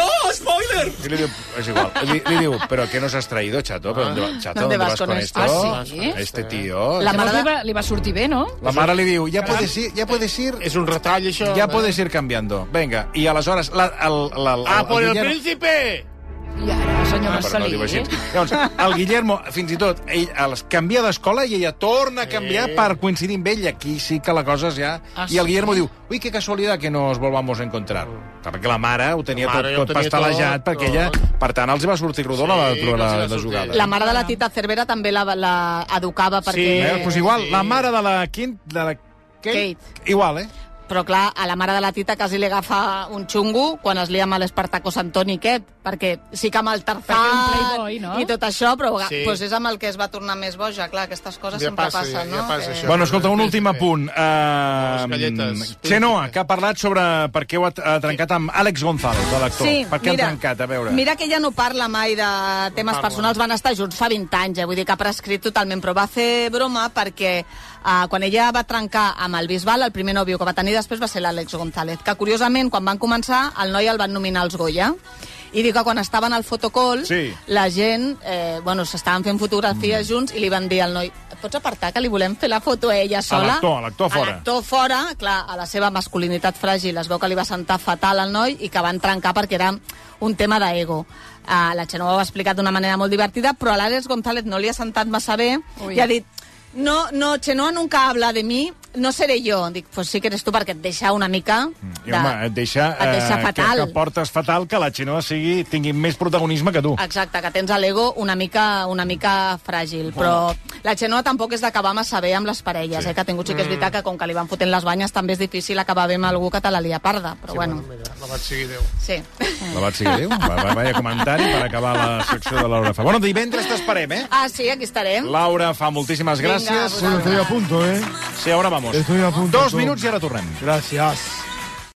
[SPEAKER 1] Oh, spoiler! I li diu, és igual. Li, li diu, però què no has traído, chato? Però,
[SPEAKER 4] Ah.
[SPEAKER 1] ¿dónde va- chato,
[SPEAKER 2] ¿Dónde
[SPEAKER 1] ¿dónde
[SPEAKER 2] vas
[SPEAKER 1] vas
[SPEAKER 2] con
[SPEAKER 1] con
[SPEAKER 2] esto?
[SPEAKER 1] esto?
[SPEAKER 3] Ah, sí?
[SPEAKER 1] Con Este tío... La,
[SPEAKER 2] La
[SPEAKER 3] Llavors
[SPEAKER 2] mare-
[SPEAKER 3] li va, li va sortir bé, no?
[SPEAKER 1] mare li diu, ja puedes ir, ja puedes ir...
[SPEAKER 4] És un retall, això.
[SPEAKER 1] Ja puedes ir cambiando. Venga, i aleshores... La, el, la, la,
[SPEAKER 4] Ah, por el
[SPEAKER 1] Guillermo-
[SPEAKER 4] príncipe!
[SPEAKER 3] I ara,
[SPEAKER 1] Ah,
[SPEAKER 3] senyor ah,
[SPEAKER 1] però no
[SPEAKER 3] Marcelí...
[SPEAKER 1] diu així. Llavors, el Guillermo, fins i tot, ell els canvia d'escola i ella torna a canviar
[SPEAKER 4] Sí.
[SPEAKER 1] per coincidir amb ell. Aquí sí que la cosa és ja...
[SPEAKER 3] Ah,
[SPEAKER 1] I el
[SPEAKER 3] sí?
[SPEAKER 1] Guillermo diu, ui, que casualitat que no ens volvamos a encontrar. Clar, perquè la mare ho tenia
[SPEAKER 4] Mm. La mare ja ho
[SPEAKER 1] tot, tot
[SPEAKER 4] tenia
[SPEAKER 1] pastelejat,
[SPEAKER 4] tot,
[SPEAKER 1] perquè ella...
[SPEAKER 4] tot.
[SPEAKER 1] Per tant, els hi va sortir rodona
[SPEAKER 4] Sí,
[SPEAKER 1] la,
[SPEAKER 4] que els hi va
[SPEAKER 1] la, la,
[SPEAKER 4] sortir.
[SPEAKER 1] jugada.
[SPEAKER 2] La mare de la Tita Cervera també la, la educava perquè...
[SPEAKER 1] Eh,
[SPEAKER 4] Sí,
[SPEAKER 1] doncs igual,
[SPEAKER 4] Sí.
[SPEAKER 1] la mare de la Quint... De la...
[SPEAKER 2] Kate.
[SPEAKER 1] Igual, eh?
[SPEAKER 2] Però, clar, a la mare de la Tita quasi li agafa un xungo quan es lia amb l'Espartaco Santoni aquest, perquè sí que amb el
[SPEAKER 3] Perquè era un
[SPEAKER 2] Tarzán
[SPEAKER 3] playboy, no?
[SPEAKER 2] i tot això, però
[SPEAKER 4] Sí.
[SPEAKER 2] sí. doncs és amb el que es va tornar més boja. Clar, aquestes coses
[SPEAKER 4] Ja
[SPEAKER 2] sempre
[SPEAKER 4] passa,
[SPEAKER 2] passen,
[SPEAKER 4] ja
[SPEAKER 2] no?
[SPEAKER 4] passa,
[SPEAKER 2] Que-
[SPEAKER 4] això.
[SPEAKER 1] Bueno, escolta, un
[SPEAKER 4] Sí,
[SPEAKER 1] últim
[SPEAKER 4] sí.
[SPEAKER 1] apunt. Uh,
[SPEAKER 4] galletes.
[SPEAKER 1] Xenoa, que ha parlat sobre per què ho ha, ha trencat amb Àlex González, l'actor. per què han trencat? A veure.
[SPEAKER 2] Mira que ella no parla mai de temes
[SPEAKER 4] parla.
[SPEAKER 2] personals, van estar junts fa 20 anys, eh? vull dir que ha prescrit totalment, però va fer broma perquè eh, quan ella va trencar amb el Bisbal, el primer nòvio que va tenir després va ser l'Àlex González, que curiosament, quan van començar, el noi el van nominar als Goya, i diu que quan estaven al fotocall,
[SPEAKER 1] Sí. Mm.
[SPEAKER 2] la gent, eh, bueno, s'estaven fent fotografies junts i li van dir al noi, "Et pots apartar que li volem fer la foto a ella sola?
[SPEAKER 1] l'actor, a l'actor fora.
[SPEAKER 2] A l'actor fora, clar, a la seva masculinitat fràgil es veu que li va sentar fatal al noi i que van trencar perquè era un tema d'ego. Uh, la Xenova ho ha explicat d'una manera molt divertida, però a l'Àlex González no li ha sentat massa bé
[SPEAKER 3] Ui.
[SPEAKER 2] i ha dit no, no, Xenoa nunca habla de mi, no seré jo. Dic, pues sí que eres tu, perquè et deixa una mica...
[SPEAKER 1] Mm, I, home, et deixa,
[SPEAKER 2] et deixa
[SPEAKER 1] eh,
[SPEAKER 2] fatal.
[SPEAKER 1] Que, que portes fatal que la Xenoa sigui, tingui més protagonisme que tu.
[SPEAKER 2] Exacte, que tens l'ego una mica, una mica fràgil, però la Xenoa tampoc és d'acabar massa bé amb les parelles, eh, que ha tingut sí que
[SPEAKER 4] Mm.
[SPEAKER 2] és veritat que com que li van fotent les banyes també és difícil acabar bé amb algú que te la lia parda, però sí, bueno,
[SPEAKER 4] Mira, la vaig seguir Déu.
[SPEAKER 2] sí.
[SPEAKER 1] La vaig seguir greu. Va, va, vaya comentari per acabar la secció de Laura Fa. Bueno, divendres t'esperem, eh?
[SPEAKER 2] Ah, sí, aquí estarem.
[SPEAKER 1] Laura Fa, moltíssimes
[SPEAKER 2] Vinga,
[SPEAKER 1] gràcies.
[SPEAKER 2] vosaltres.
[SPEAKER 6] Estoy a punto, ¿eh?
[SPEAKER 1] Sí, ara vamos.
[SPEAKER 6] Estoy a punto.
[SPEAKER 1] Dos
[SPEAKER 6] tú.
[SPEAKER 1] minuts i ara tornem.
[SPEAKER 6] Gracias.